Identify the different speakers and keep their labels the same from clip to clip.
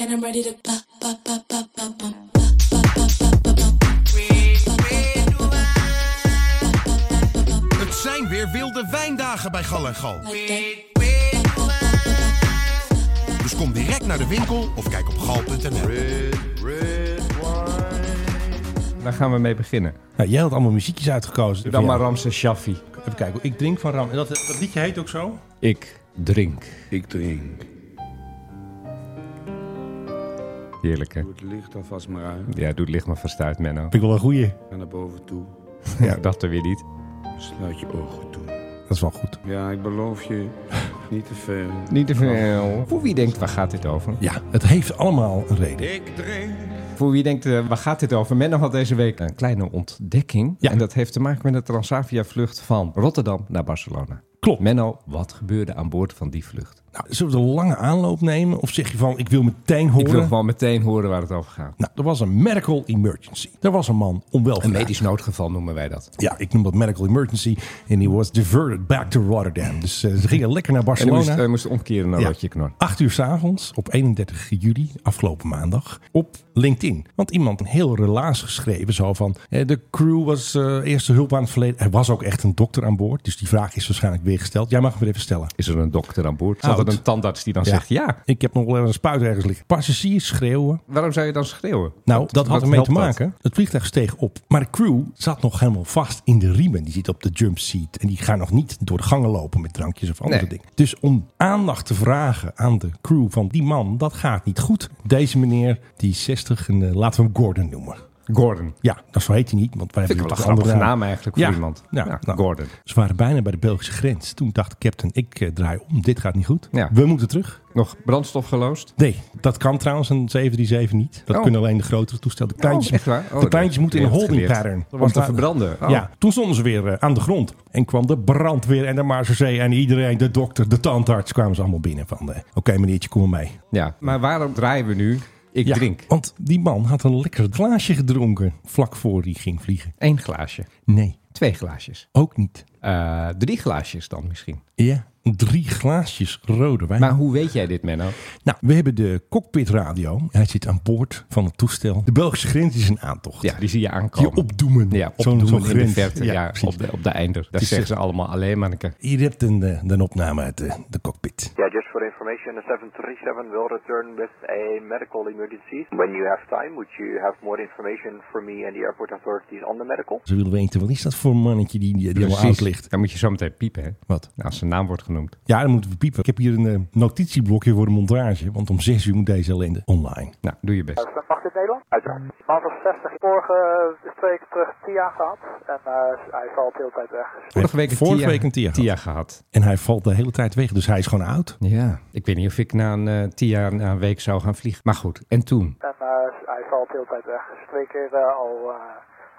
Speaker 1: and I'm ready to pop, pop, pop, pop, pop, pop.
Speaker 2: Het zijn weer wilde wijndagen bij Gal en Gal. Dus kom direct naar de winkel of kijk op gal.nl.
Speaker 3: Daar gaan we mee beginnen.
Speaker 4: Nou, jij had allemaal muziekjes uitgekozen.
Speaker 3: Dan
Speaker 4: Ja.
Speaker 3: maar Ramses Shaffi.
Speaker 4: Even kijken, ik drink van Ram. Dat, dat liedje heet ook zo.
Speaker 3: Ik drink.
Speaker 5: Ik drink.
Speaker 3: Heerlijk, hè?
Speaker 5: Doe het licht alvast maar uit.
Speaker 3: Ja, doe het licht maar vast uit, Menno.
Speaker 4: Vind ik wel een goeie.
Speaker 5: Ga naar boven toe.
Speaker 3: Ja, dat er weer niet.
Speaker 5: Sluit je ogen toe.
Speaker 4: Dat is wel goed.
Speaker 5: Ja, ik beloof je niet te veel.
Speaker 3: Niet te veel. Voor wie denkt, waar gaat dit over?
Speaker 4: Ja, het heeft allemaal een reden.
Speaker 5: Ik drink.
Speaker 3: Voor wie denkt, eh, waar gaat dit over? Menno had deze week een kleine ontdekking.
Speaker 4: Ja.
Speaker 3: En dat heeft te maken met de Transavia-vlucht van Rotterdam naar Barcelona.
Speaker 4: Klopt.
Speaker 3: Menno, wat gebeurde aan boord van die vlucht?
Speaker 4: Nou, zullen we de lange aanloop nemen? Of zeg je van, ik wil meteen horen?
Speaker 3: Ik wil gewoon meteen horen waar het over gaat.
Speaker 4: Nou, er was een medical emergency. Er was een man onwel
Speaker 3: Een medisch noodgeval noemen wij dat.
Speaker 4: Ja, ik noem dat medical emergency. En die was diverted back to Rotterdam. Dus eh, ze gingen lekker naar
Speaker 3: En hij moest, hij
Speaker 4: Barcelona.
Speaker 3: moest omkeren naar
Speaker 4: Ja.
Speaker 3: Rotje Knor.
Speaker 4: 8 uur s'avonds op 31 juli, afgelopen maandag, op LinkedIn. Want iemand een heel relaas geschreven, zo van... eh, de crew was eh, eerste hulp aan het verleden. Er was ook echt een dokter aan boord, dus die vraag is waarschijnlijk weer gesteld. Jij mag hem weer even stellen.
Speaker 3: Is er een dokter aan boord? Zat
Speaker 4: Oud.
Speaker 3: er een tandarts die dan zegt ja?
Speaker 4: Ik heb nog wel een spuit ergens liggen. Passagiers schreeuwen.
Speaker 3: Waarom zou je dan schreeuwen?
Speaker 4: Nou,
Speaker 3: Wat-
Speaker 4: dat had
Speaker 3: wat
Speaker 4: ermee te
Speaker 3: helpt dat?
Speaker 4: maken. Het vliegtuig steeg op. Maar de crew zat nog helemaal vast in de riemen. Die zit op de jump seat. En die gaan nog niet door de gangen lopen met drankjes of andere
Speaker 3: Nee.
Speaker 4: dingen. Dus om aandacht te vragen aan de crew van die man, dat gaat niet goed. Deze meneer, die is 60, en, eh, laten we hem Gordon noemen.
Speaker 3: Gordon.
Speaker 4: Ja, dat zo heet hij niet, want wij
Speaker 3: Vind ik
Speaker 4: hebben
Speaker 3: wel een
Speaker 4: toch
Speaker 3: grappige
Speaker 4: andere
Speaker 3: naam eigenlijk voor
Speaker 4: Ja,
Speaker 3: iemand.
Speaker 4: ja, nou.
Speaker 3: Gordon.
Speaker 4: Ze waren bijna bij de Belgische grens. Toen dacht de captain, ik eh, draai om, dit gaat niet goed.
Speaker 3: Ja.
Speaker 4: We moeten terug.
Speaker 3: Nog brandstof geloosd?
Speaker 4: Nee, dat kan trouwens een 737 niet. Dat
Speaker 3: Oh.
Speaker 4: kunnen alleen de grotere toestellen. De kleintjes,
Speaker 3: Oh, echt waar? Oh,
Speaker 4: de kleintjes
Speaker 3: dat-
Speaker 4: moeten in
Speaker 3: je
Speaker 4: een
Speaker 3: hebt
Speaker 4: holding
Speaker 3: geleerd.
Speaker 4: pattern. eh,
Speaker 3: Om te verbranden. Oh.
Speaker 4: Ja, toen stonden ze weer eh, aan de grond. En kwam de brandweer en de Maarsenzee en iedereen, de dokter, de tandarts, kwamen ze allemaal binnen van... eh, Oké meneertje, kom maar mee.
Speaker 3: Ja. Maar waarom draaien we nu? Ik
Speaker 4: Ja,
Speaker 3: drink.
Speaker 4: Want die man had een lekker glaasje gedronken vlak voor hij ging vliegen.
Speaker 3: Eén glaasje.
Speaker 4: Nee,
Speaker 3: Twee glaasjes.
Speaker 4: ook niet.
Speaker 3: Eh, drie glaasjes dan misschien.
Speaker 4: Ja, drie glaasjes rode wijn.
Speaker 3: Maar hoe weet jij dit, Menno?
Speaker 4: Nou, we hebben de cockpitradio. Hij zit aan boord van het toestel. De Belgische grens is een aantocht.
Speaker 3: Ja, die zie je aankomen.
Speaker 4: Die opdoemen.
Speaker 3: ja,
Speaker 4: Zo'n-
Speaker 3: opdoemen
Speaker 4: zo'n
Speaker 3: in de
Speaker 4: grens.
Speaker 3: verte. Ja,
Speaker 4: precies.
Speaker 3: op, de, op de einder. Daar
Speaker 4: is
Speaker 3: zeggen
Speaker 4: echt-
Speaker 3: ze allemaal alleen maar een keer.
Speaker 4: Hier hebt een, eh, een opname uit de, de cockpit.
Speaker 6: Yeah, just for information, the 737 will return with a medical emergency. When you have time, would you have more information for me and the airport authorities on the medical?
Speaker 4: Ze willen weten, wat is dat voor een mannetje die, die helemaal
Speaker 3: Precies.
Speaker 4: oud ligt?
Speaker 3: Dan moet je zo meteen piepen, hè? Nou,
Speaker 4: Wat?
Speaker 3: Als zijn naam wordt genoemd.
Speaker 4: Ja, dan moeten we piepen. Ik heb hier een eh, notitieblokje voor de montage. Want om 6 uur moet deze ellende online.
Speaker 3: Nou, doe je best.
Speaker 7: Mag dit Nederland? Uiteraard. Man van 60, vorige week terug TIA gehad. En eh, hij valt de hele tijd weg.
Speaker 3: Vorige week een
Speaker 4: Vorige
Speaker 3: Tia,
Speaker 4: week een Tia gehad.
Speaker 3: gehad.
Speaker 4: En hij valt de hele tijd weg. Dus hij is gewoon oud.
Speaker 3: Ja. Ik weet niet of ik na een eh, Tia na een week zou gaan vliegen. Maar goed, en toen?
Speaker 7: En eh, hij valt de hele tijd weg. Dus twee keer eh, al eh,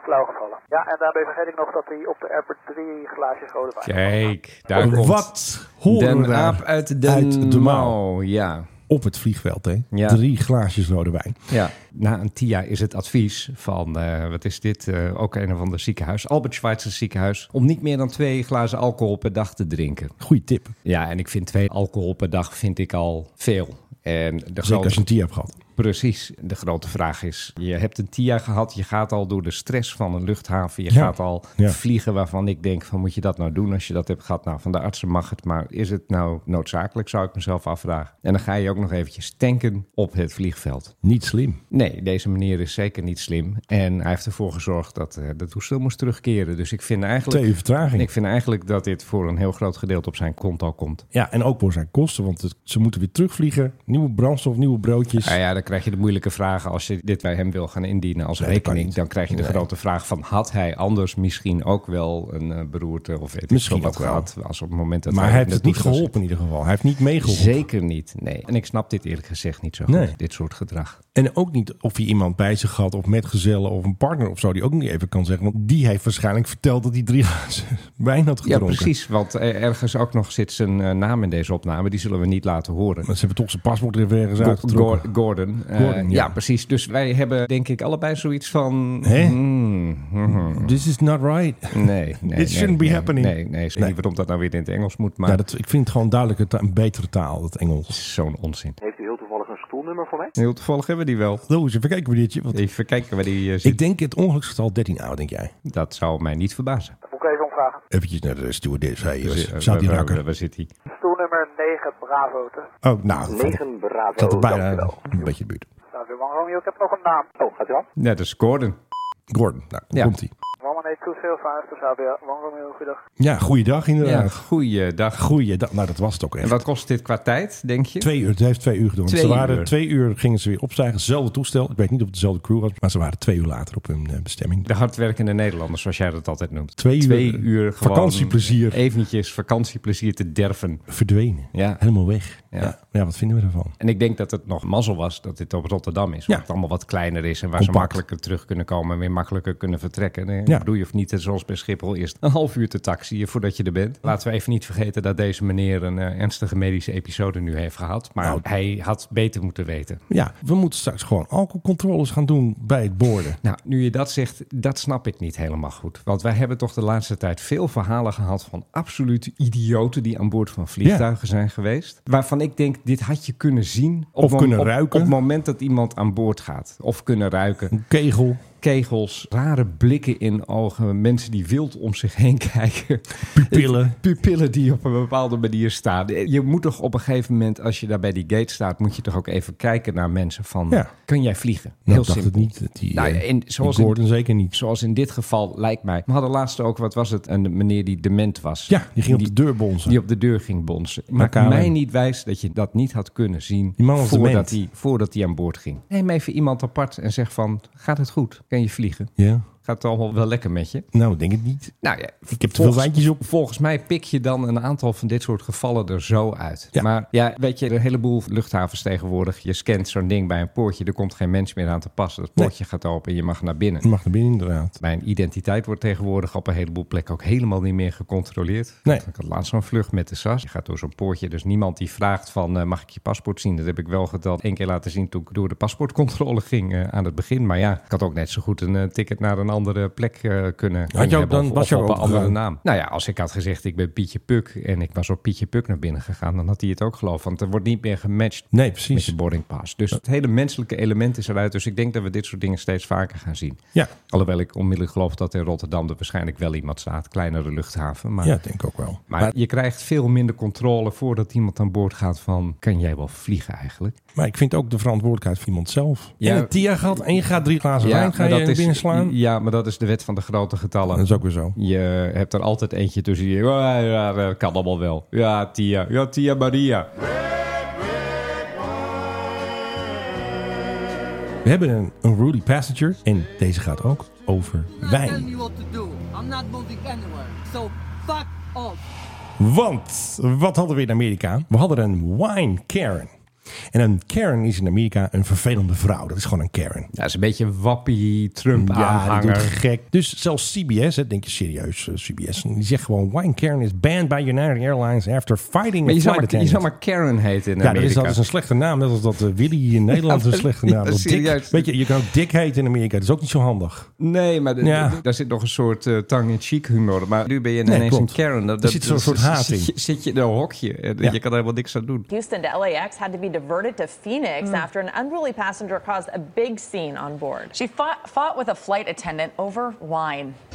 Speaker 7: flauw gevallen. Ja, en daarbij vergeet ik nog dat hij op de Airport 3 glaasjes rode wijn
Speaker 3: Kijk, daar komt
Speaker 4: Oh, Wat horen we
Speaker 3: Den
Speaker 4: daar?
Speaker 3: aap uit de,
Speaker 4: Uit de mouw.
Speaker 3: mouw. Ja.
Speaker 4: Op het vliegveld, hè?
Speaker 3: Ja.
Speaker 4: Drie glaasjes rode wijn.
Speaker 3: ja. Na een TIA is het advies van, eh, wat is dit, eh, ook een of ander ziekenhuis, Albert Schweitzer ziekenhuis, om niet meer dan twee glazen alcohol per dag te drinken.
Speaker 4: Goeie tip.
Speaker 3: Ja, en ik vind twee alcohol per dag vind ik al veel. En de
Speaker 4: Zeker als je
Speaker 3: grote,
Speaker 4: een Tia hebt gehad.
Speaker 3: precies, de grote vraag is, je hebt een TIA gehad, je gaat al door de stress van een luchthaven, je
Speaker 4: Ja.
Speaker 3: gaat al
Speaker 4: Ja.
Speaker 3: vliegen waarvan ik denk van moet je dat nou doen als je dat hebt gehad? Nou, van de artsen mag het, maar is het nou noodzakelijk, zou ik mezelf afvragen. En dan ga je ook nog eventjes tanken op het vliegveld.
Speaker 4: Niet slim.
Speaker 3: Nee, deze meneer is zeker niet slim. En hij heeft ervoor gezorgd dat eh dat toestel moest terugkeren. Dus ik vind
Speaker 4: Twee
Speaker 3: eigenlijk...
Speaker 4: uur vertraging.
Speaker 3: Ik vind eigenlijk dat dit voor een heel groot gedeelte op zijn konto komt.
Speaker 4: Ja, en ook voor zijn kosten, want het- ze moeten weer terugvliegen. Nieuwe brandstof, nieuwe broodjes.
Speaker 3: Nou ja, dan krijg je de moeilijke vragen als je dit bij hem wil gaan indienen als
Speaker 4: dat kan
Speaker 3: rekening.
Speaker 4: niet.
Speaker 3: Dan krijg je de grote vraag van had hij anders misschien ook wel een eh, beroerte of weet
Speaker 4: Misschien
Speaker 3: ik veel wat
Speaker 4: ook wel.
Speaker 3: gehad. Als op het moment dat
Speaker 4: maar
Speaker 3: hij
Speaker 4: hij
Speaker 3: in
Speaker 4: heeft
Speaker 3: de
Speaker 4: het niet
Speaker 3: toestel zit.
Speaker 4: geholpen in ieder geval. Hij heeft niet meegeholpen.
Speaker 3: Zeker niet, nee. En ik snap dit eerlijk gezegd niet zo goed,
Speaker 4: Nee.
Speaker 3: dit soort gedrag.
Speaker 4: En ook niet of hij iemand bij zich had of metgezellen of een partner of zo. Die ook niet even kan zeggen. Want die heeft waarschijnlijk verteld dat hij drie glazen wijn had
Speaker 3: Ja,
Speaker 4: gedronken.
Speaker 3: precies, want eh, ergens ook nog zit zijn eh, naam in deze opname. Die zullen we niet laten horen.
Speaker 4: Maar ze hebben toch zijn paspoort er even ergens
Speaker 3: Go-
Speaker 4: uitgetrokken.
Speaker 3: Gor- Gordon. Eh,
Speaker 4: Gordon,
Speaker 3: ja.
Speaker 4: ja.
Speaker 3: precies. Dus wij hebben denk ik allebei zoiets van...
Speaker 4: Hè?
Speaker 3: hmm, hmm.
Speaker 4: This is not right.
Speaker 3: Nee, nee. It nee,
Speaker 4: shouldn't be
Speaker 3: nee,
Speaker 4: happening.
Speaker 3: Nee, nee. Ik weet
Speaker 4: Nee.
Speaker 3: niet waarom dat nou weer in het Engels moet, maar...
Speaker 4: Ja, dat, ik vind het gewoon duidelijk een, ta- een betere taal, dat Engels.
Speaker 3: Zo'n onzin.
Speaker 6: Heeft u heel toevallig een stoelnummer voor mij?
Speaker 3: Heel toevallig hebben we die wel.
Speaker 4: Loos, even kijken, meneertje. Want
Speaker 3: Even kijken waar die eh, zit.
Speaker 4: ik denk het ongeluksgetal 13a, denk jij?
Speaker 3: Dat zou mij niet verbazen.
Speaker 7: Moet ik even omvragen.
Speaker 4: Eventjes naar de stewardess. Hey,
Speaker 3: Dus, eh,
Speaker 4: was- zat die
Speaker 3: waar-
Speaker 4: rakker?
Speaker 3: waar- Waar zit hij?
Speaker 7: Stoelnummer 9 Bravo. Te.
Speaker 4: Oh, nou, valt op.
Speaker 6: 9 Bravo.
Speaker 4: zat er bijna
Speaker 6: dankjewel.
Speaker 4: een beetje in de buurt.
Speaker 7: Nou, weer One Romeo, ik heb nog een naam.
Speaker 6: Oh, gaat u al?
Speaker 3: Net als Gordon.
Speaker 4: Gordon, nou,
Speaker 3: Ja.
Speaker 4: komt hij.
Speaker 7: One One Eight Two Zero Five, dus ABR. One Romeo, goeiedag.
Speaker 4: Ja, goeiedag
Speaker 3: Ja,
Speaker 4: inderdaad.
Speaker 3: goeiedag.
Speaker 4: Goeiedag. Nou, dat was het ook
Speaker 3: En
Speaker 4: echt.
Speaker 3: wat kost dit qua tijd, denk je?
Speaker 4: Twee uur, het heeft twee uur gedaan.
Speaker 3: Twee
Speaker 4: ze waren
Speaker 3: uur.
Speaker 4: twee uur, gingen ze weer opstijgen. Hetzelfde toestel. Ik weet niet of het dezelfde crew was, maar ze waren twee uur later op hun eh, bestemming.
Speaker 3: De hardwerkende Nederlanders, zoals jij dat altijd noemt.
Speaker 4: Twee uur,
Speaker 3: Twee uur gewoon
Speaker 4: vakantieplezier.
Speaker 3: Eventjes vakantieplezier te derven.
Speaker 4: Verdwenen.
Speaker 3: Ja.
Speaker 4: Helemaal weg.
Speaker 3: Ja.
Speaker 4: Ja. Ja. wat vinden we daarvan?
Speaker 3: En ik denk dat het nog mazzel was dat dit op Rotterdam is.
Speaker 4: Ja.
Speaker 3: Waar het allemaal wat kleiner is en waar ze
Speaker 4: Compact.
Speaker 3: makkelijker terug kunnen komen en weer makkelijker kunnen vertrekken. Nee,
Speaker 4: Ja.
Speaker 3: Doe je of niet, eh, zoals bij Schiphol, eerst een half uur te taxiën voordat je er bent. Laten we even niet vergeten dat deze meneer een eh, ernstige medische episode nu heeft gehad. Maar
Speaker 4: Nou.
Speaker 3: hij had beter moeten weten.
Speaker 4: Ja, we moeten straks gewoon alcoholcontroles gaan doen bij het boorden.
Speaker 3: Nou, nu je dat zegt, dat snap ik niet helemaal goed. Want wij hebben toch de laatste tijd veel verhalen gehad van absolute idioten die aan boord van vliegtuigen zijn geweest. Waarvan ik denk, dit had je kunnen zien. Op
Speaker 4: Of
Speaker 3: mom-
Speaker 4: kunnen
Speaker 3: op-
Speaker 4: ruiken.
Speaker 3: Op het moment dat iemand aan boord gaat. Of kunnen ruiken.
Speaker 4: Een kegel,
Speaker 3: Kegels, rare blikken in ogen. Mensen die wild om zich heen kijken.
Speaker 4: pupillen.
Speaker 3: Pupillen die op een bepaalde manier staan. Je moet toch op een gegeven moment, als je daar bij die gate staat, moet je toch ook even kijken naar mensen van,
Speaker 4: Ja.
Speaker 3: kun jij vliegen?
Speaker 4: Nou,
Speaker 3: Heel
Speaker 4: ik dacht
Speaker 3: simpel.
Speaker 4: het niet. Dat die,
Speaker 3: Nou,
Speaker 4: eh,
Speaker 3: en
Speaker 4: die
Speaker 3: zoals in-
Speaker 4: Gordon zeker niet.
Speaker 3: Zoals in dit geval lijkt mij. We hadden laatst ook, wat was het, een meneer die dement was.
Speaker 4: Ja, die ging op de deur bonzen.
Speaker 3: Die op de deur ging bonzen. Maak
Speaker 4: KLM.
Speaker 3: mij niet wijs dat je dat niet had kunnen zien
Speaker 4: Die man was
Speaker 3: voordat,
Speaker 4: dement.
Speaker 3: hij, voordat hij aan boord ging. Neem even iemand apart en zeg van, gaat het goed? Kan je vliegen?
Speaker 4: Ja,
Speaker 3: Gaat het allemaal wel lekker met je?
Speaker 4: nou, ik denk het niet.
Speaker 3: Nou ja,
Speaker 4: Ik heb te veel wijntjes op.
Speaker 3: Volgens mij pik je dan een aantal van dit soort gevallen er zo uit.
Speaker 4: Ja.
Speaker 3: Maar ja, weet je, een heleboel luchthavens tegenwoordig. Je scant zo'n ding bij een poortje. Er komt geen mens meer aan te passen. Dat
Speaker 4: Nee.
Speaker 3: poortje gaat open en je mag naar binnen.
Speaker 4: Je mag naar binnen inderdaad.
Speaker 3: Mijn identiteit wordt tegenwoordig op een heleboel plekken ook helemaal niet meer gecontroleerd.
Speaker 4: Nee.
Speaker 3: Ik had laatst zo'n vlucht met de SAS. Je gaat door zo'n poortje, dus niemand die vraagt van eh, mag ik je paspoort zien? Dat heb ik wel geteld één keer laten zien toen ik door de paspoortcontrole ging eh, aan het begin. Maar ja, ik had ook net zo goed een eh, ticket naar een andere plek eh, kunnen kunnen
Speaker 4: je ook-
Speaker 3: hebben
Speaker 4: dan
Speaker 3: of,
Speaker 4: was
Speaker 3: of
Speaker 4: je
Speaker 3: op
Speaker 4: ook
Speaker 3: een andere
Speaker 4: gegaan.
Speaker 3: naam. Nou ja, als ik had gezegd ik ben Pietje Puk en ik was op Pietje Puk naar binnen gegaan, dan had hij het ook geloofd. Want er wordt niet meer gematcht
Speaker 4: Nee,
Speaker 3: met
Speaker 4: precies.
Speaker 3: je boarding pass. Dus het hele menselijke element is eruit. Dus ik denk dat we dit soort dingen steeds vaker gaan zien.
Speaker 4: Ja.
Speaker 3: Alhoewel ik onmiddellijk geloof dat in Rotterdam er waarschijnlijk wel iemand staat. Kleinere luchthaven. Maar,
Speaker 4: Ja, denk ik ook wel.
Speaker 3: maar, je krijgt veel minder controle voordat iemand aan boord gaat van... kan jij wel vliegen eigenlijk?
Speaker 4: Maar ik vind ook de verantwoordelijkheid van iemand zelf.
Speaker 3: Ja.
Speaker 4: Ja. En een TIA gaat en je gaat drie glazen wijn ga je binnen slaan.
Speaker 3: ja, maar dat is de wet van de grote getallen.
Speaker 4: Dat is ook weer zo.
Speaker 3: Je hebt er altijd eentje tussen die... Ja, ja, dat kan allemaal wel. Ja, Tia. Ja, Tia Maria.
Speaker 4: We hebben een, een Rudy Passenger en deze gaat ook over
Speaker 8: not telling
Speaker 4: wijn.
Speaker 8: you what to do. I'm not moving anywhere. So fuck off.
Speaker 4: Want, wat hadden we in Amerika? We hadden een wine Karen. En een Karen is in Amerika een vervelende vrouw. Dat is gewoon een Karen.
Speaker 3: Dat is een beetje een wappie Trump
Speaker 4: Ja, die doet
Speaker 3: aanhanger.
Speaker 4: gek. Dus zelfs CBS, hè, denk je serieus, eh, CBS, die zegt gewoon... Wine Karen is banned by United Airlines after fighting
Speaker 3: Maar
Speaker 4: a
Speaker 3: je zou
Speaker 4: flight
Speaker 3: maar, je zou
Speaker 4: attendant.
Speaker 3: maar Karen heten in
Speaker 4: Ja, dat is,
Speaker 3: Amerika.
Speaker 4: dat is een slechte naam. Net als dat eh, Willy in Nederland een
Speaker 3: Ja,
Speaker 4: slechte
Speaker 3: ja,
Speaker 4: naam is. Dick,
Speaker 3: serieus.
Speaker 4: weet je, je kan ook Dick heten in Amerika. Dat is ook niet zo handig.
Speaker 3: Nee, maar de-
Speaker 4: Ja.
Speaker 3: de- daar zit nog een soort eh tang-in-cheek humor. Maar nu ben je
Speaker 4: Nee,
Speaker 3: ineens
Speaker 4: klopt.
Speaker 3: een Karen. Dat,
Speaker 4: Er zit zo'n soort haat
Speaker 3: zit,
Speaker 4: in.
Speaker 3: je- zit je in een hokje. En
Speaker 4: Ja.
Speaker 3: Je kan er helemaal niks aan doen.
Speaker 9: Houston to LAX had to be diverted to Phoenix
Speaker 8: Hmm.
Speaker 9: after an unruly passenger caused a big scene on board.
Speaker 10: She fought, fought with a flight attendant over wine.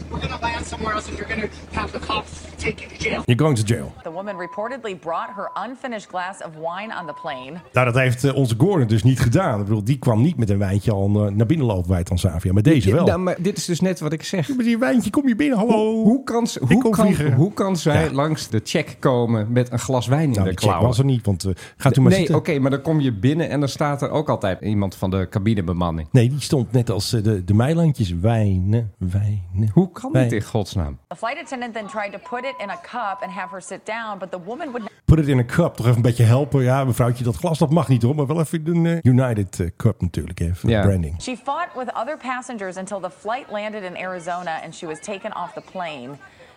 Speaker 11: We're gonna land somewhere else and you're gonna have the cops take you to jail.
Speaker 4: You're going to jail.
Speaker 10: The woman reportedly brought her unfinished glass of wine on the plane.
Speaker 4: Nou, dat heeft eh, onze Gordon dus niet gedaan. Ik bedoel, die kwam niet met een wijntje al eh, naar binnen lopen bij Transavia. Maar deze wel.
Speaker 3: Nou, maar dit is dus net wat ik zeg.
Speaker 4: Met die wijntje kom je binnen, hallo. Nou,
Speaker 3: Hoe kan, ze-
Speaker 4: Ik
Speaker 3: hoe
Speaker 4: kom
Speaker 3: kan,
Speaker 4: vliegen.
Speaker 3: hoe kan zij
Speaker 4: Ja.
Speaker 3: langs de check komen met een glas wijn in
Speaker 4: Nou,
Speaker 3: de
Speaker 4: die check
Speaker 3: klauwen?
Speaker 4: was er niet, want eh, gaat u maar
Speaker 3: nee, oké,
Speaker 4: zitten.
Speaker 3: maar dan kom je binnen en dan staat er ook altijd iemand van de cabinebemanning.
Speaker 4: Nee, die stond net als eh, de, de Meilandjes. Wijnen, wijnen.
Speaker 3: Hoe kan dit
Speaker 4: Wijn.
Speaker 3: in godsnaam?
Speaker 10: The flight attendant then tried to put it in a cup and have her sit down, but the woman would
Speaker 4: Put it in a cup. Toch even een beetje helpen. Ja, mevrouwtje, dat glas dat mag niet hoor. Maar wel even een eh, United eh, Cup natuurlijk. Even
Speaker 3: Ja.
Speaker 4: branding.
Speaker 10: She fought with other passengers until the flight landed in Arizona and she was taken off the plane.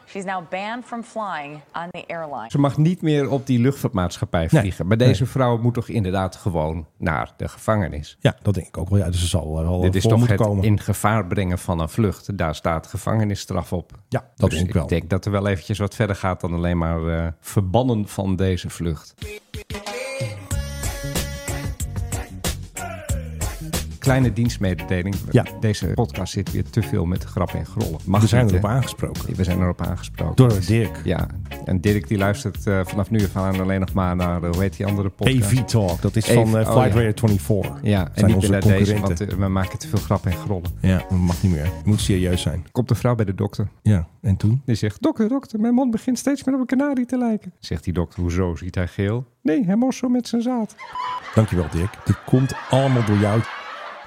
Speaker 10: She's now banned from flying on the airline.
Speaker 3: Ze mag niet meer op die luchtvaartmaatschappij vliegen. maar deze
Speaker 4: nee.
Speaker 3: vrouw moet toch inderdaad gewoon naar de gevangenis?
Speaker 4: Ja, dat denk ik ook wel. Ja, dus ze zal wel
Speaker 3: Dit is
Speaker 4: voor
Speaker 3: toch
Speaker 4: moeten
Speaker 3: het
Speaker 4: komen.
Speaker 3: in gevaar brengen van een vlucht. Daar staat gevangenisstraf op.
Speaker 4: Ja, dat
Speaker 3: Dus
Speaker 4: denk ik wel.
Speaker 3: denk dat er wel eventjes wat verder gaat dan alleen maar eh, verbannen van deze vlucht. kleine dienstmededeling.
Speaker 4: Ja.
Speaker 3: Deze podcast zit weer te veel met grappen en grollen.
Speaker 4: We zijn
Speaker 3: niet,
Speaker 4: erop
Speaker 3: hè?
Speaker 4: aangesproken.
Speaker 3: We zijn erop aangesproken.
Speaker 4: Door Dirk.
Speaker 3: Ja, en Dirk die luistert eh, vanaf nu af aan alleen nog maar naar, eh, hoe heet die andere podcast?
Speaker 4: AV Talk, dat is van
Speaker 3: AV
Speaker 4: eh,
Speaker 3: oh,
Speaker 4: Flightware
Speaker 3: ja.
Speaker 4: 24.
Speaker 3: Ja, en
Speaker 4: Zijn
Speaker 3: niet
Speaker 4: onze
Speaker 3: naar deze, want
Speaker 4: concurrenten.
Speaker 3: eh, we maken te veel grappen en grollen.
Speaker 4: Ja, dat mag niet meer. Je moet serieus zijn.
Speaker 3: Komt een vrouw bij de dokter.
Speaker 4: Ja, en toen?
Speaker 3: Die zegt, dokter, dokter, mijn man begint steeds meer op een kanarie te lijken. Zegt die dokter, hoezo? Ziet hij geel? Nee, hij most zo met zijn zaad.
Speaker 4: Dankjewel Dirk. Dit komt allemaal door jou.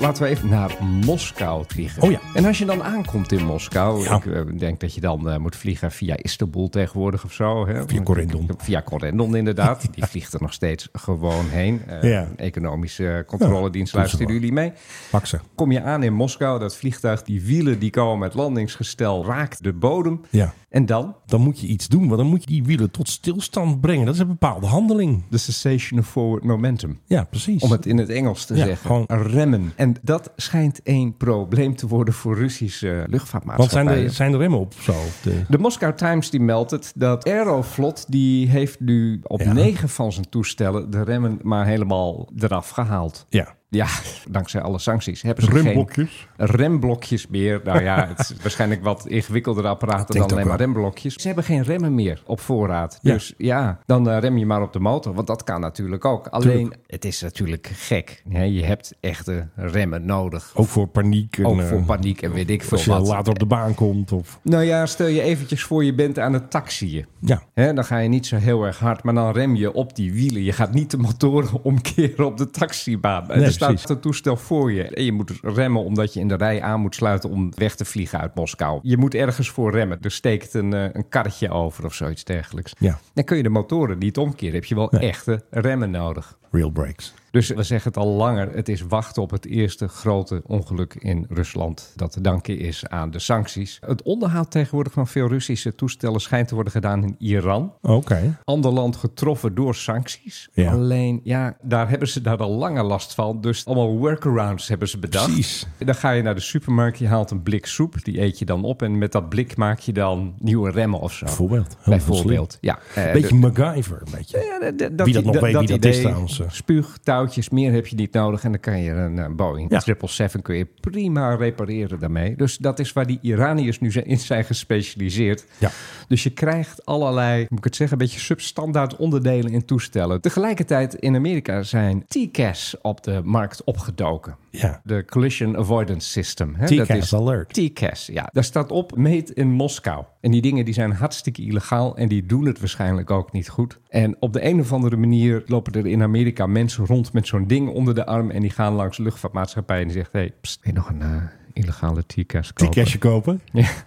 Speaker 3: Laten we even naar Moskou vliegen.
Speaker 4: Oh ja.
Speaker 3: En als je dan aankomt in Moskou,
Speaker 4: Ja.
Speaker 3: ik eh, denk dat je dan eh, moet vliegen via Istanbul tegenwoordig of zo. Hè?
Speaker 4: Via Corendon.
Speaker 3: Via Corendon inderdaad. Die vliegt er nog steeds gewoon heen. Eh,
Speaker 4: Ja.
Speaker 3: Economische controledienst
Speaker 4: Ja,
Speaker 3: luisteren
Speaker 4: doen ze
Speaker 3: jullie mee.
Speaker 4: Pak ze.
Speaker 3: Kom je aan in Moskou, dat vliegtuig, die wielen die komen, het landingsgestel raakt de bodem.
Speaker 4: Ja.
Speaker 3: En dan?
Speaker 4: Dan moet je iets doen, want dan moet je die wielen tot stilstand brengen. Dat is een bepaalde handeling.
Speaker 3: De cessation of forward momentum.
Speaker 4: Ja, precies.
Speaker 3: Om het in het Engels te
Speaker 4: Ja,
Speaker 3: zeggen.
Speaker 4: gewoon-
Speaker 3: remmen. En dat schijnt een probleem te worden voor Russische eh,
Speaker 4: Want zijn
Speaker 3: luchtvaartmaatschappijen.
Speaker 4: er, zijn er remmen op zo? op de-
Speaker 3: De Moscow Times die meldt het dat Aeroflot die heeft nu op
Speaker 4: Ja.
Speaker 3: negen van zijn toestellen de remmen maar helemaal eraf gehaald.
Speaker 4: Ja.
Speaker 3: Ja, dankzij alle sancties hebben ze
Speaker 4: Remblokjes?
Speaker 3: geen remblokjes meer. Nou ja, het is waarschijnlijk wat ingewikkeldere apparaten
Speaker 4: denk
Speaker 3: dan
Speaker 4: het
Speaker 3: alleen
Speaker 4: ook
Speaker 3: maar
Speaker 4: wel.
Speaker 3: remblokjes. Ze hebben geen remmen meer op voorraad.
Speaker 4: Ja.
Speaker 3: Dus ja, dan eh, rem je maar op de motor, want dat kan natuurlijk ook. Alleen, het is natuurlijk gek. hè. je hebt echte remmen nodig.
Speaker 4: Ook voor paniek. En,
Speaker 3: Ook voor
Speaker 4: eh,
Speaker 3: paniek en weet ik veel
Speaker 4: Als je
Speaker 3: wat.
Speaker 4: later op de baan komt. Of,
Speaker 3: Nou ja, stel je eventjes voor je bent aan het taxiën.
Speaker 4: ja.
Speaker 3: Hè, dan ga je niet zo heel erg hard, maar dan rem je op die wielen. Je gaat niet de motoren omkeren op de taxibaan.
Speaker 4: Nee,
Speaker 3: er staat
Speaker 4: precies.
Speaker 3: een toestel voor je. En je moet remmen omdat je in de rij aan moet sluiten om weg te vliegen uit Moskou. Je moet ergens voor remmen. Er steekt een, eh, een karretje over of zoiets dergelijks.
Speaker 4: Ja.
Speaker 3: Dan kun je de motoren niet omkeren. Heb je wel echte remmen nodig.
Speaker 4: Real breaks.
Speaker 3: Dus we zeggen het al langer, het is wachten op het eerste grote ongeluk in Rusland. Dat te danken is aan de sancties. Het onderhoud tegenwoordig van veel Russische toestellen schijnt te worden gedaan in Iran
Speaker 4: Oké.
Speaker 3: ander land getroffen door sancties.
Speaker 4: Ja.
Speaker 3: Alleen, ja, daar hebben ze daar al lange last van. Dus allemaal workarounds hebben ze bedacht.
Speaker 4: Precies.
Speaker 3: Dan ga je naar de supermarkt, je haalt een blik soep. Die eet je dan op en met dat blik maak je dan nieuwe remmen of zo.
Speaker 4: Bijvoorbeeld. Heel
Speaker 3: Bijvoorbeeld, ja. Eh,
Speaker 4: Beetje
Speaker 3: de-
Speaker 4: MacGyver, een beetje.
Speaker 3: ja, de- de-
Speaker 4: Wie dat nog weet, wie dat is
Speaker 3: idee,
Speaker 4: trouwens, eh.
Speaker 3: Spuug, touwtjes, meer heb je niet nodig. En dan kan je een eh, Boeing
Speaker 4: Ja.
Speaker 3: 777 kun je prima repareren daarmee. Dus dat is waar die Iraniërs nu zijn- in zijn gespecialiseerd.
Speaker 4: Ja.
Speaker 3: Dus je krijgt allerlei, hoe moet ik het zeggen, een beetje substandaard onderdelen in toestellen. Tegelijkertijd in Amerika zijn TCAS op de markt opgedoken.
Speaker 4: Ja.
Speaker 3: De Collision Avoidance System. hè.
Speaker 4: TCAS
Speaker 3: Dat is-
Speaker 4: alert.
Speaker 3: TCAS, ja. Daar staat op Made in Moskou. En die dingen die zijn hartstikke illegaal en die doen het waarschijnlijk ook niet goed. En op de een of andere manier lopen er in Amerika mensen rond met zo'n ding onder de arm en die gaan langs de luchtvaartmaatschappij en die zegt, hey, pst, wil je nog een eh, illegale TCAS kopen?
Speaker 4: T-cashje kopen.
Speaker 3: Ja.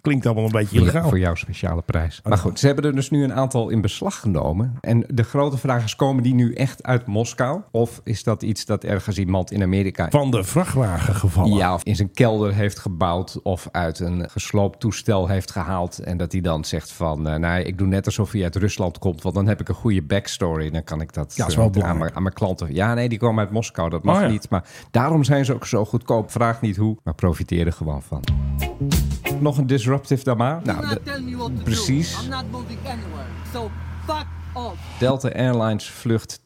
Speaker 4: Klinkt allemaal een beetje illegaal. Oh,
Speaker 3: Voor jouw speciale prijs. Maar goed, ze hebben er dus nu een aantal in beslag genomen. En de grote vraag is, komen die nu echt uit Moskou? Of is dat iets dat ergens iemand in Amerika
Speaker 4: Van de vrachtwagen gevallen.
Speaker 3: Ja, of in zijn kelder heeft gebouwd of uit een gesloopt toestel heeft gehaald. En dat hij dan zegt van, eh, nou, ik doe net alsof hij uit Rusland komt, want dan heb ik een goede backstory. Dan kan ik dat,
Speaker 4: Ja, dat is
Speaker 3: eh,
Speaker 4: wel
Speaker 3: aan,
Speaker 4: belangrijk.
Speaker 3: mijn, aan mijn klanten. Ja, nee, die komen uit Moskou, dat mag
Speaker 4: Oh, ja.
Speaker 3: niet. Maar daarom zijn ze ook zo goedkoop. Vraag niet hoe, maar profiteer er gewoon van. Nog een disruptive dan maar.
Speaker 8: Do
Speaker 3: Nou,
Speaker 8: not
Speaker 3: de-
Speaker 8: tell me what to
Speaker 3: precies.
Speaker 8: do. I'm not moving anywhere. So fuck off.
Speaker 3: Delta Airlines vlucht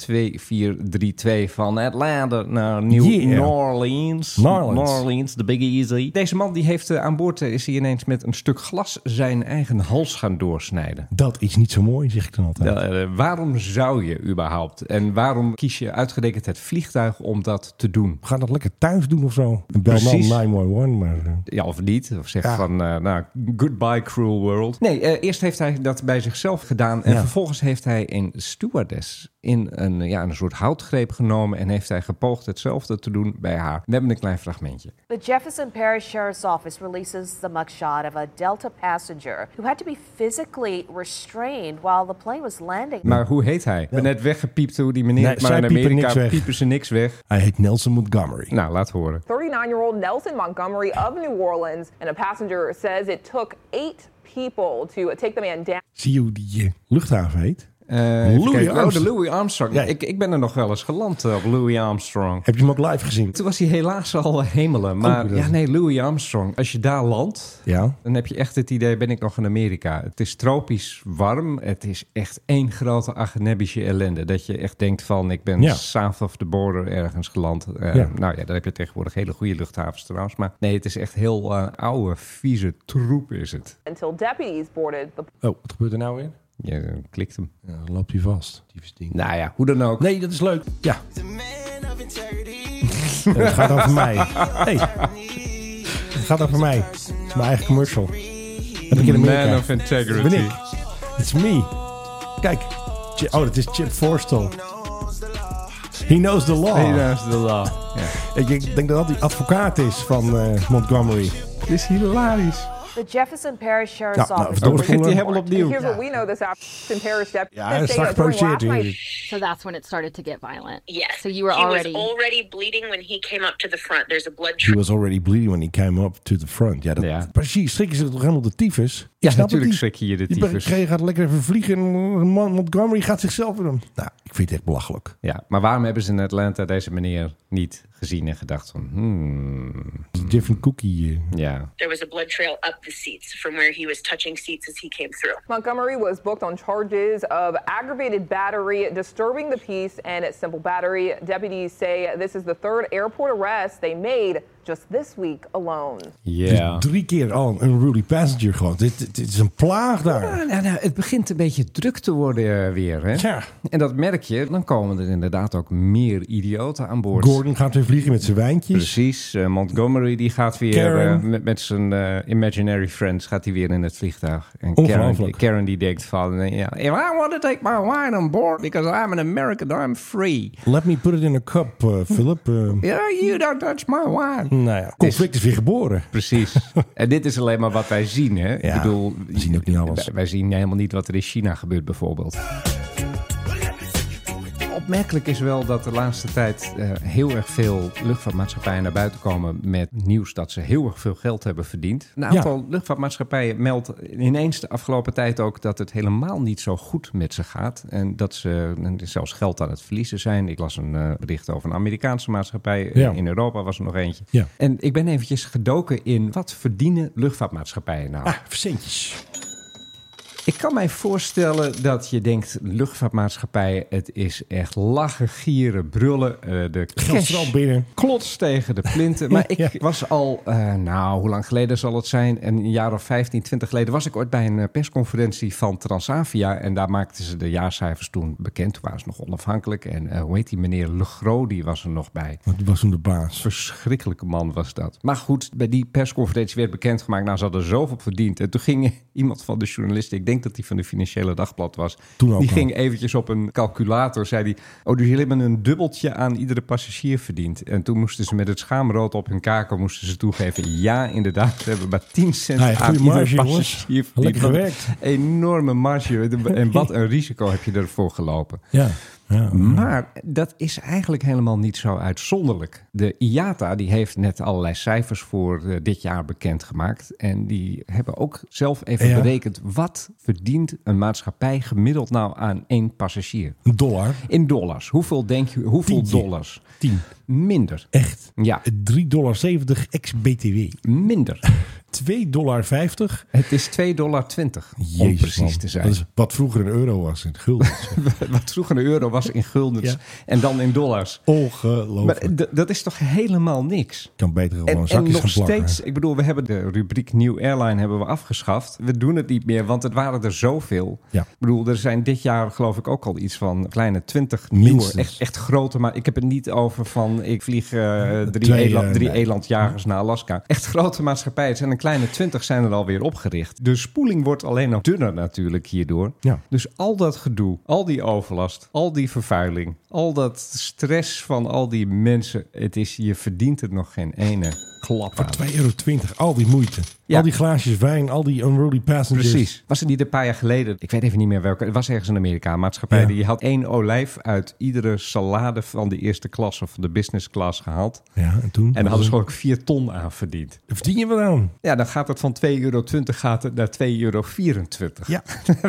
Speaker 3: 2432 van Atlanta naar New
Speaker 4: Yeah.
Speaker 3: New Orleans.
Speaker 4: New Orleans.
Speaker 3: New Orleans, de Big Easy. Deze man die heeft eh, aan boord eh, is hij ineens met een stuk glas zijn eigen hals gaan doorsnijden.
Speaker 4: Dat is niet zo mooi, zeg ik dan altijd.
Speaker 3: Eh, waarom zou je überhaupt? En waarom kies je uitgerekend het vliegtuig om dat te doen?
Speaker 4: Ga dat lekker thuis doen of zo. En Bel dan
Speaker 3: Precies.
Speaker 4: 911, maar... eh,
Speaker 3: Ja, of niet. Of zegt
Speaker 4: Ja.
Speaker 3: van, eh, nou, goodbye cruel world. Nee, eh, eerst heeft hij dat bij zichzelf gedaan. En
Speaker 4: Ja.
Speaker 3: vervolgens heeft hij een stewardess in een, ja, een soort houtgreep genomen. En heeft hij gepoogd hetzelfde te doen bij haar. We hebben een klein fragmentje.
Speaker 12: The Jefferson Parish Sheriff's Office releases the mugshot of a Delta passenger who had to be physically restrained while the plane was landing.
Speaker 3: Maar hoe heet hij? Ik ben net weggepiept hoe die meneer...
Speaker 4: Nee,
Speaker 3: maar
Speaker 4: zij
Speaker 3: in
Speaker 4: piepen
Speaker 3: Amerika
Speaker 4: niks weg.
Speaker 3: piepen ze niks weg.
Speaker 4: Hij heet Nelson Montgomery.
Speaker 3: Nou, laat horen.
Speaker 13: 39 year old Nelson Montgomery of New Orleans and a passenger says it took eight people to take the man down.
Speaker 4: Zie je hoe die eh, luchthaven heet?
Speaker 3: Eh, even
Speaker 4: Louis
Speaker 3: kijken. Oh, de
Speaker 4: Armstrong.
Speaker 3: Louis Armstrong. Ik, ik ben er nog wel eens geland eh, op Louis Armstrong.
Speaker 4: Heb je hem ook live gezien?
Speaker 3: Toen was hij helaas al hemelen. Maar
Speaker 4: bedoel.
Speaker 3: ja, nee, Louis Armstrong. Als je daar landt,
Speaker 4: Ja.
Speaker 3: dan heb je echt het idee, ben ik nog in Amerika. Het is tropisch warm. Het is echt één grote agenebbische ellende. Dat je echt denkt van, ik ben
Speaker 4: Ja.
Speaker 3: south of the border ergens geland. Eh,
Speaker 4: Ja.
Speaker 3: Nou ja, daar heb je tegenwoordig hele goede luchthavens trouwens. Maar nee, het is echt heel eh, oude, vieze troep is het.
Speaker 13: until deputies boarded the
Speaker 4: Oh, wat gebeurt er nou weer?
Speaker 3: Je klikt hem.
Speaker 4: Ja, dan loopt hij vast. Typisch ding.
Speaker 3: Nou ja, hoe dan ook.
Speaker 4: Nee, dat is leuk. Ja. Het gaat over mij. Hey. Het gaat over mij. Het is mijn eigen commercial. Heb ik in Amerika.
Speaker 3: Man of integrity.
Speaker 4: Dat ben ik. It's me. Kijk. Chi- Oh, dat is Chip Forstel. He knows the law.
Speaker 3: Helaas de law. Ja.
Speaker 4: Ik, ik denk dat dat die advocaat is van eh, Montgomery.
Speaker 3: Het is hilarisch.
Speaker 12: The Jefferson Parish Sheriff's
Speaker 4: Nou, nou,
Speaker 12: Office.
Speaker 4: verdomme.
Speaker 3: Begint hij helemaal opnieuw.
Speaker 13: Here's what we know this after in Paris deputy.
Speaker 4: Ja, hij is straks geproduceerd natuurlijk.
Speaker 14: So that's when it started to get violent.
Speaker 15: Yes.
Speaker 14: So you were
Speaker 15: he
Speaker 14: already.
Speaker 15: was already bleeding when he came up to the front. There's a blood
Speaker 4: He was already bleeding when he came up to the front. Ja, dat, precies. Schrikken ze toch helemaal de tyfus? Ik
Speaker 3: Ja,
Speaker 4: snap het
Speaker 3: natuurlijk
Speaker 4: niet.
Speaker 3: schrik je je de
Speaker 4: Je bent-
Speaker 3: tyfus.
Speaker 4: Je gaat lekker even vliegen en Mon- Montgomery gaat zichzelf weer doen. Nou, ik vind het echt belachelijk.
Speaker 3: Ja, maar waarom hebben ze in Atlanta deze meneer niet gezien en gedacht van... Hmm,
Speaker 4: Different cookie. eh.
Speaker 3: ja,
Speaker 15: there was a blood trail up the seats from where he was touching seats as he came through.
Speaker 13: Montgomery was booked on charges of aggravated battery, disturbing the peace, and simple battery. Deputies say this is the third airport arrest they made just this week alone.
Speaker 3: ja.
Speaker 4: Dus drie keer al een Rudy Passenger gewoon. Dit, dit, dit is een plaag daar.
Speaker 3: Nou, nou, nou, het begint een beetje druk te worden eh, weer, hè?
Speaker 4: Ja.
Speaker 3: En dat merk je. Dan komen er inderdaad ook meer idioten aan boord.
Speaker 4: Gordon gaat weer vliegen met zijn wijntjes.
Speaker 3: Precies. eh, Montgomery die gaat weer eh,
Speaker 4: Karen.
Speaker 3: met, met zijn eh, imaginary friends gaat hij weer in het vliegtuig. En Karen,
Speaker 4: Ongelooflijk.
Speaker 3: Karen die denkt van, eh, ja, if I want to take my wine on board because I'm an American, I'm free.
Speaker 4: Let me put it in a cup, eh, Philip. eh.
Speaker 3: Yeah, you don't touch my wine.
Speaker 4: Nou ja, conflict is weer geboren.
Speaker 3: Precies. en dit is alleen maar wat wij zien, hè?
Speaker 4: Ja,
Speaker 3: Ik bedoel,
Speaker 4: we zien ook niet alles.
Speaker 3: Wij, wij zien helemaal niet wat er in China gebeurt, bijvoorbeeld. Opmerkelijk is wel dat de laatste tijd eh, heel erg veel luchtvaartmaatschappijen naar buiten komen met nieuws dat ze heel erg veel geld hebben verdiend. Een aantal luchtvaartmaatschappijen meldt ineens de afgelopen tijd ook dat het helemaal niet zo goed met ze gaat. En dat ze eh, zelfs geld aan het verliezen zijn. Ik las een eh, bericht over een Amerikaanse maatschappij. eh,
Speaker 4: Ja.
Speaker 3: In Europa was er nog eentje.
Speaker 4: Ja.
Speaker 3: En ik ben eventjes gedoken in wat verdienen luchtvaartmaatschappijen nou?
Speaker 4: Ah, verzendjes.
Speaker 3: Ik kan mij voorstellen dat je denkt, luchtvaartmaatschappijen, het is echt lachen, gieren, brullen. eh, de
Speaker 4: Geld
Speaker 3: cash
Speaker 4: stroomt binnen.
Speaker 3: klotst tegen de plinten. Maar ik
Speaker 4: Ja.
Speaker 3: was al, eh, nou, hoe lang geleden zal het zijn? Een jaar of 15, 20 geleden was ik ooit bij een eh, persconferentie van Transavia. En daar maakten ze de jaarcijfers toen bekend. Toen waren ze nog onafhankelijk. En eh, hoe heet die meneer Legro, die was er nog bij.
Speaker 4: Want die was toen de baas.
Speaker 3: Verschrikkelijke man was dat. Maar goed, bij die persconferentie werd bekendgemaakt. Nou, ze hadden zoveel verdiend. En toen ging iemand van de journalisten, ik denk dat die van de Financiële Dagblad was.
Speaker 4: Toen ook
Speaker 3: die
Speaker 4: nog.
Speaker 3: ging eventjes op een calculator. Zei die, oh, dus jullie hebben een dubbeltje aan iedere passagier verdiend. En toen moesten ze met het schaamrood op hun kaken moesten ze toegeven. Ja, inderdaad, we hebben maar 10 cent
Speaker 4: Hij heeft
Speaker 3: aan
Speaker 4: Nou goede
Speaker 3: iedere
Speaker 4: marge, jongens.
Speaker 3: passagier verdiend.
Speaker 4: Lekker
Speaker 3: Wat een
Speaker 4: gewerkt.
Speaker 3: Enorme marge. En wat een risico heb je ervoor gelopen.
Speaker 4: Ja. ja.
Speaker 3: Maar dat is eigenlijk helemaal niet zo uitzonderlijk. De IATA die heeft net allerlei cijfers voor eh, dit jaar bekendgemaakt. En die hebben ook zelf even
Speaker 4: Ja.
Speaker 3: berekend... wat verdient een maatschappij gemiddeld nou aan één passagier?
Speaker 4: Een dollar.
Speaker 3: In dollars. Hoeveel denk je? Hoeveel
Speaker 4: Tientje.
Speaker 3: dollars?
Speaker 4: 10.
Speaker 3: Minder.
Speaker 4: Echt.
Speaker 3: Ja,
Speaker 4: 3,70 dollar ex-BTW.
Speaker 3: minder.
Speaker 4: 2,50 dollar.
Speaker 3: Het is 2,20 dollar om precies
Speaker 4: man.
Speaker 3: te zijn.
Speaker 4: Dat is wat vroeger een euro was in het gulden.
Speaker 3: Wat vroeger een euro was in guldens
Speaker 4: Ja.
Speaker 3: en dan in dollars. Maar
Speaker 4: Ongelooflijk.
Speaker 3: d- dat is toch helemaal niks?
Speaker 4: Ik kan beter gewoon
Speaker 3: En, en
Speaker 4: zakjes
Speaker 3: nog
Speaker 4: gaan plakken.
Speaker 3: steeds, ik bedoel, we hebben de rubriek New Airline hebben we afgeschaft. We doen het niet meer, want het waren er zoveel.
Speaker 4: Ja.
Speaker 3: Ik bedoel, er zijn dit jaar geloof ik ook al iets van kleine twintig nieuwe,
Speaker 4: Minstens.
Speaker 3: echt, echt grote. Maar ik heb het niet over van, ik vlieg eh, drie,
Speaker 4: Twee,
Speaker 3: eland-
Speaker 4: eh,
Speaker 3: drie
Speaker 4: nee.
Speaker 3: elandjagers naar Alaska. Echt grote maatschappijen. En een kleine twintig zijn er alweer opgericht. De spoeling wordt alleen nog dunner natuurlijk hierdoor.
Speaker 4: Ja.
Speaker 3: Dus al dat gedoe, al die overlast, al die vervuiling, al dat stress van al die mensen. Het is, je verdient het nog geen ene. klap aan.
Speaker 4: Voor 2,20 euro. Al die moeite.
Speaker 3: Ja.
Speaker 4: Al die glaasjes wijn, al die unruly passengers.
Speaker 3: Precies. Was het niet een paar jaar geleden? Ik weet even niet meer welke. Het was ergens in Amerika, een maatschappij.
Speaker 4: Ja.
Speaker 3: Die had één olijf uit iedere salade van de eerste klas of van de business class gehaald.
Speaker 4: Ja, en toen?
Speaker 3: En daar hadden ze ook vier ton aan verdiend.
Speaker 4: Verdien je wel aan?
Speaker 3: Ja, dan gaat het van 2,20 euro gaat het naar 2,24 euro.
Speaker 4: Ja.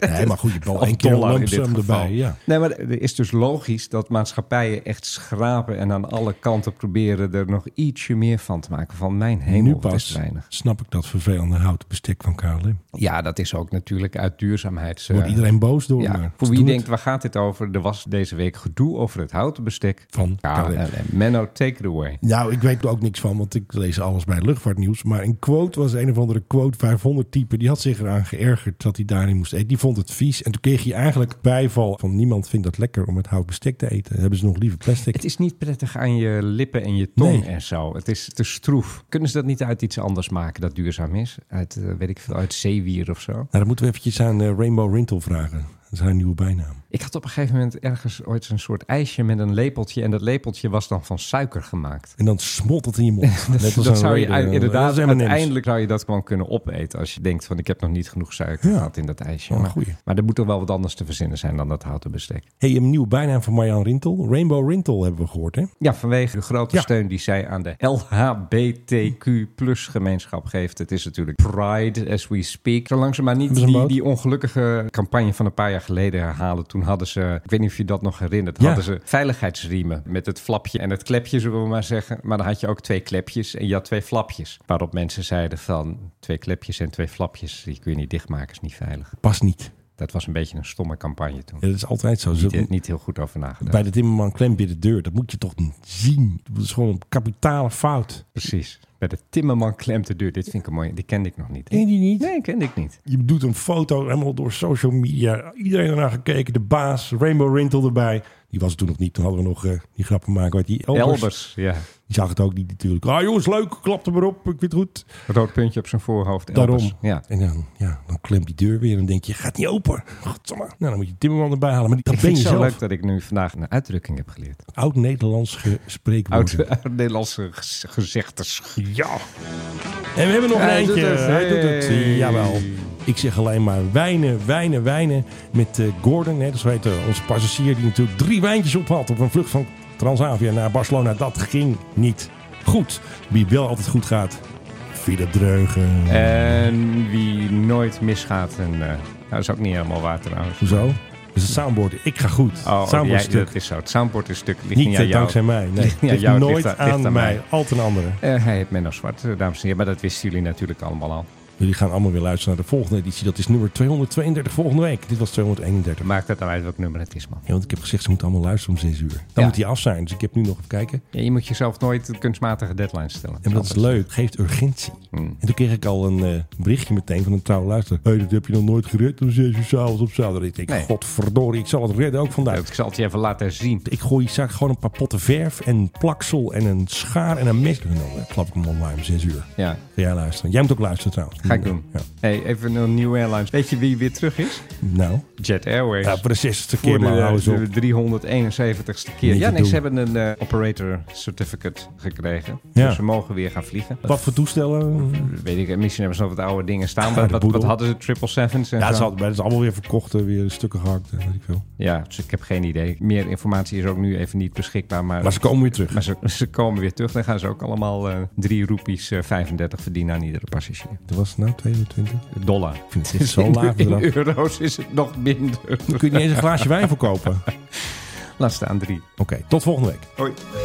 Speaker 4: nee, maar goed, je bal
Speaker 3: Of
Speaker 4: één keer
Speaker 3: dollar in
Speaker 4: lump
Speaker 3: dit
Speaker 4: sum
Speaker 3: geval.
Speaker 4: erbij. Ja.
Speaker 3: Nee, maar het is dus logisch dat maatschappijen echt schrapen en aan alle kanten proberen er nog ietsje meer van te maken. Van mijn hemel,
Speaker 4: nu
Speaker 3: het is
Speaker 4: pas
Speaker 3: weinig.
Speaker 4: snap ik dat vervelende houten bestek van KLM.
Speaker 3: Ja, dat is ook natuurlijk uit duurzaamheids...
Speaker 4: Wordt
Speaker 3: eh,
Speaker 4: iedereen boos door, maar
Speaker 3: Ja,
Speaker 4: ze
Speaker 3: voor
Speaker 4: doen
Speaker 3: wie denkt,
Speaker 4: het.
Speaker 3: waar gaat dit over? Er was deze week gedoe over het houten bestek
Speaker 4: Van KLM.
Speaker 3: Menno, take it away.
Speaker 4: Nou, ik weet er ook niks van, want ik lees alles bij luchtvaartnieuws. Maar een quote was een of andere quote 500 type. Die had zich eraan geërgerd dat hij daarin moest eten. Die vond het vies. En toen kreeg hij eigenlijk bijval van niemand vindt dat lekker om het hout bestek te eten. Hebben ze nog liever plastic?
Speaker 3: Het is niet prettig aan je lippen en je tong
Speaker 4: Nee.
Speaker 3: en zo. Het is te stroef. Kunnen ze dat niet uit iets anders maken dat duurzaam is? Uit, eh, weet ik veel, uit zeewier of zo?
Speaker 4: Nou, dan moeten we eventjes aan eh, Rainbow Rintel vragen. Dat is haar nieuwe bijnaam.
Speaker 3: Ik had op een gegeven moment ergens ooit een soort ijsje met een lepeltje. En dat lepeltje was dan van suiker gemaakt.
Speaker 4: En dan smolt het in je mond.
Speaker 3: Dat,
Speaker 4: Net als
Speaker 3: dat
Speaker 4: een
Speaker 3: zou je
Speaker 4: Raider.
Speaker 3: ei- inderdaad,
Speaker 4: Dat is M&M's.
Speaker 3: uiteindelijk zou je dat gewoon kunnen opeten. Als je denkt van ik heb nog niet genoeg suiker
Speaker 4: Ja.
Speaker 3: gehad in dat ijsje.
Speaker 4: Wel een
Speaker 3: Maar,
Speaker 4: goeie.
Speaker 3: maar er moet toch wel wat anders te verzinnen zijn dan dat houten bestek.
Speaker 4: hey, een nieuwe bijnaam van Marjan Rintel. Rainbow Rintel hebben we gehoord, hè?
Speaker 3: Ja, vanwege de grote
Speaker 4: Ja.
Speaker 3: steun die zij aan de LHBTQ plus gemeenschap geeft. Het is natuurlijk Pride as we speak. Zo langzaam maar niet
Speaker 4: Hebben ze een
Speaker 3: die,
Speaker 4: boot?
Speaker 3: die ongelukkige campagne van een paar jaar geleden herhalen. Toen hadden ze, ik weet niet of je dat nog herinnert,
Speaker 4: Ja.
Speaker 3: hadden ze veiligheidsriemen met het flapje en het klepje, zullen we maar zeggen. Maar dan had je ook twee klepjes en je had twee flapjes. Waarop mensen zeiden van twee klepjes en twee flapjes, die kun je niet dichtmaken, is niet veilig.
Speaker 4: Past niet.
Speaker 3: Dat was een beetje een stomme campagne toen.
Speaker 4: Ja, dat is altijd zo. Ze-
Speaker 3: Niet, niet heel goed over nagedacht.
Speaker 4: bij de Timmerman klem bij de deur. Dat moet je toch niet zien. Dat is gewoon een kapitale fout.
Speaker 3: Precies. Bij de Timmerman klemt de deur. Dit vind ik een mooie. Die kende ik nog niet.
Speaker 4: Ken je die niet?
Speaker 3: Nee, kende ik niet.
Speaker 4: Je doet een foto helemaal door social media. Iedereen ernaar gekeken. De baas, Rainbow Rintel erbij. Die was er toen nog niet. Toen hadden we nog eh, die grappen maken. Wat die Elbers.
Speaker 3: Elbers, ja.
Speaker 4: Die zag het ook niet natuurlijk. Ah jongens, leuk. Klap er maar op. Ik vind het goed.
Speaker 3: Rood puntje op zijn voorhoofd.
Speaker 4: Daarom.
Speaker 3: Elbers. Ja.
Speaker 4: En dan, ja, dan klemt die deur weer. En dan denk je, gaat niet open. Godsamme. Nou, dan moet je Timmerman erbij halen. Maar die- dat
Speaker 3: ik
Speaker 4: ben
Speaker 3: vind
Speaker 4: je
Speaker 3: het zo
Speaker 4: zelf.
Speaker 3: leuk dat ik nu vandaag een uitdrukking heb geleerd.
Speaker 4: Oud-Nederlands ge- spreekwoord.
Speaker 3: Oud, oud Nederlandse gez- gezegdes.
Speaker 4: Ja. En we hebben nog
Speaker 3: Hij
Speaker 4: een
Speaker 3: doet
Speaker 4: eindje.
Speaker 3: het.
Speaker 4: Hij doet het.
Speaker 3: Hey.
Speaker 4: Jawel. Ik zeg alleen maar wijnen, wijnen, wijnen. Met eh, Gordon, hè, dat is weet, eh, onze passagier die natuurlijk drie wijntjes op had op een vlucht van Transavia naar Barcelona. Dat ging niet goed. Wie wel altijd goed gaat, Philip Dreugen.
Speaker 3: Eh. En wie nooit misgaat. En, eh, nou, dat is ook niet helemaal waar trouwens.
Speaker 4: Hoezo? Dat is het soundboard. Ik ga goed.
Speaker 3: Oh,
Speaker 4: soundboard
Speaker 3: ja,
Speaker 4: stuk.
Speaker 3: dat is zo. Het soundboard is stuk. Ligt
Speaker 4: Niet
Speaker 3: niet
Speaker 4: eh,
Speaker 3: aan jou.
Speaker 4: dankzij mij. Nee.
Speaker 3: Ligt niet aan
Speaker 4: Ligt
Speaker 3: jou.
Speaker 4: nooit
Speaker 3: ligt aan,
Speaker 4: aan,
Speaker 3: ligt aan
Speaker 4: mij. Altijd een andere.
Speaker 3: Eh, hij heet Menno Zwart, eh, dames en heren. Maar dat wisten jullie natuurlijk allemaal al.
Speaker 4: Jullie gaan allemaal weer luisteren naar de volgende editie. Dat is nummer 232 volgende week. Dit was 231.
Speaker 3: Maakt het nou uit welk nummer het is, man.
Speaker 4: Ja, want ik heb gezegd, ze moeten allemaal luisteren om 6 uur. Dan
Speaker 3: Ja.
Speaker 4: moet die af zijn. Dus ik heb nu nog even kijken.
Speaker 3: Ja, je moet jezelf nooit kunstmatige deadlines stellen.
Speaker 4: En dat is leuk. Het Hmm. geeft urgentie. En toen kreeg ik al een eh, berichtje meteen van een trouwe luisteraar. Hé, dat heb je nog nooit gered om 6 uur s'avonds op zaterdag. Ik denk,
Speaker 3: Nee.
Speaker 4: godverdorie, ik zal het redden ook vandaag.
Speaker 3: Ik zal het je even laten zien.
Speaker 4: Ik gooi straks gewoon een paar potten verf en plaksel en een schaar en een mes. En dan eh, klap ik hem online om 6 uur.
Speaker 3: Ja,
Speaker 4: Ga jij luisteren. Jij moet ook luisteren trouwens.
Speaker 3: ga ik doen.
Speaker 4: Ja.
Speaker 3: Hey, even een nieuwe airlines. Weet je wie weer terug is?
Speaker 4: Nou,
Speaker 3: Jet Airways.
Speaker 4: ja, voor de eh, 60ste
Speaker 3: Voor
Speaker 4: keer maar hou eens
Speaker 3: de,
Speaker 4: op.
Speaker 3: de 371ste keer.
Speaker 4: Niet
Speaker 3: Ja,
Speaker 4: te
Speaker 3: nee, ze
Speaker 4: doen.
Speaker 3: hebben een eh, operator certificate gekregen.
Speaker 4: Ja.
Speaker 3: Dus ze mogen weer gaan vliegen.
Speaker 4: Wat voor toestellen?
Speaker 3: Dat weet ik, misschien hebben ze nog wat oude dingen staan.
Speaker 4: Ja,
Speaker 3: Wat,
Speaker 4: de
Speaker 3: wat,
Speaker 4: boedel.
Speaker 3: wat hadden ze? Triple Sevens en
Speaker 4: Ja, dat is,
Speaker 3: zo?
Speaker 4: al- maar dat is allemaal weer verkocht, eh, weer stukken gehakt en weet ik veel.
Speaker 3: Ja, dus ik heb geen idee. Meer informatie is ook nu even niet beschikbaar. Maar,
Speaker 4: Maar ze komen weer terug.
Speaker 3: maar ze, ze komen weer terug. Dan gaan ze ook allemaal eh 3 roepies eh, 35 verdienen aan iedere passagier.
Speaker 4: Dat was het nou 22.
Speaker 3: Dollar. Ik
Speaker 4: vind het zo'n laag
Speaker 3: In
Speaker 4: bedrag.
Speaker 3: euro's is het nog minder.
Speaker 4: Dan kun je niet eens een glaasje wijn verkopen. Oké,
Speaker 3: Laat staan drie.
Speaker 4: tot volgende week.
Speaker 3: Hoi.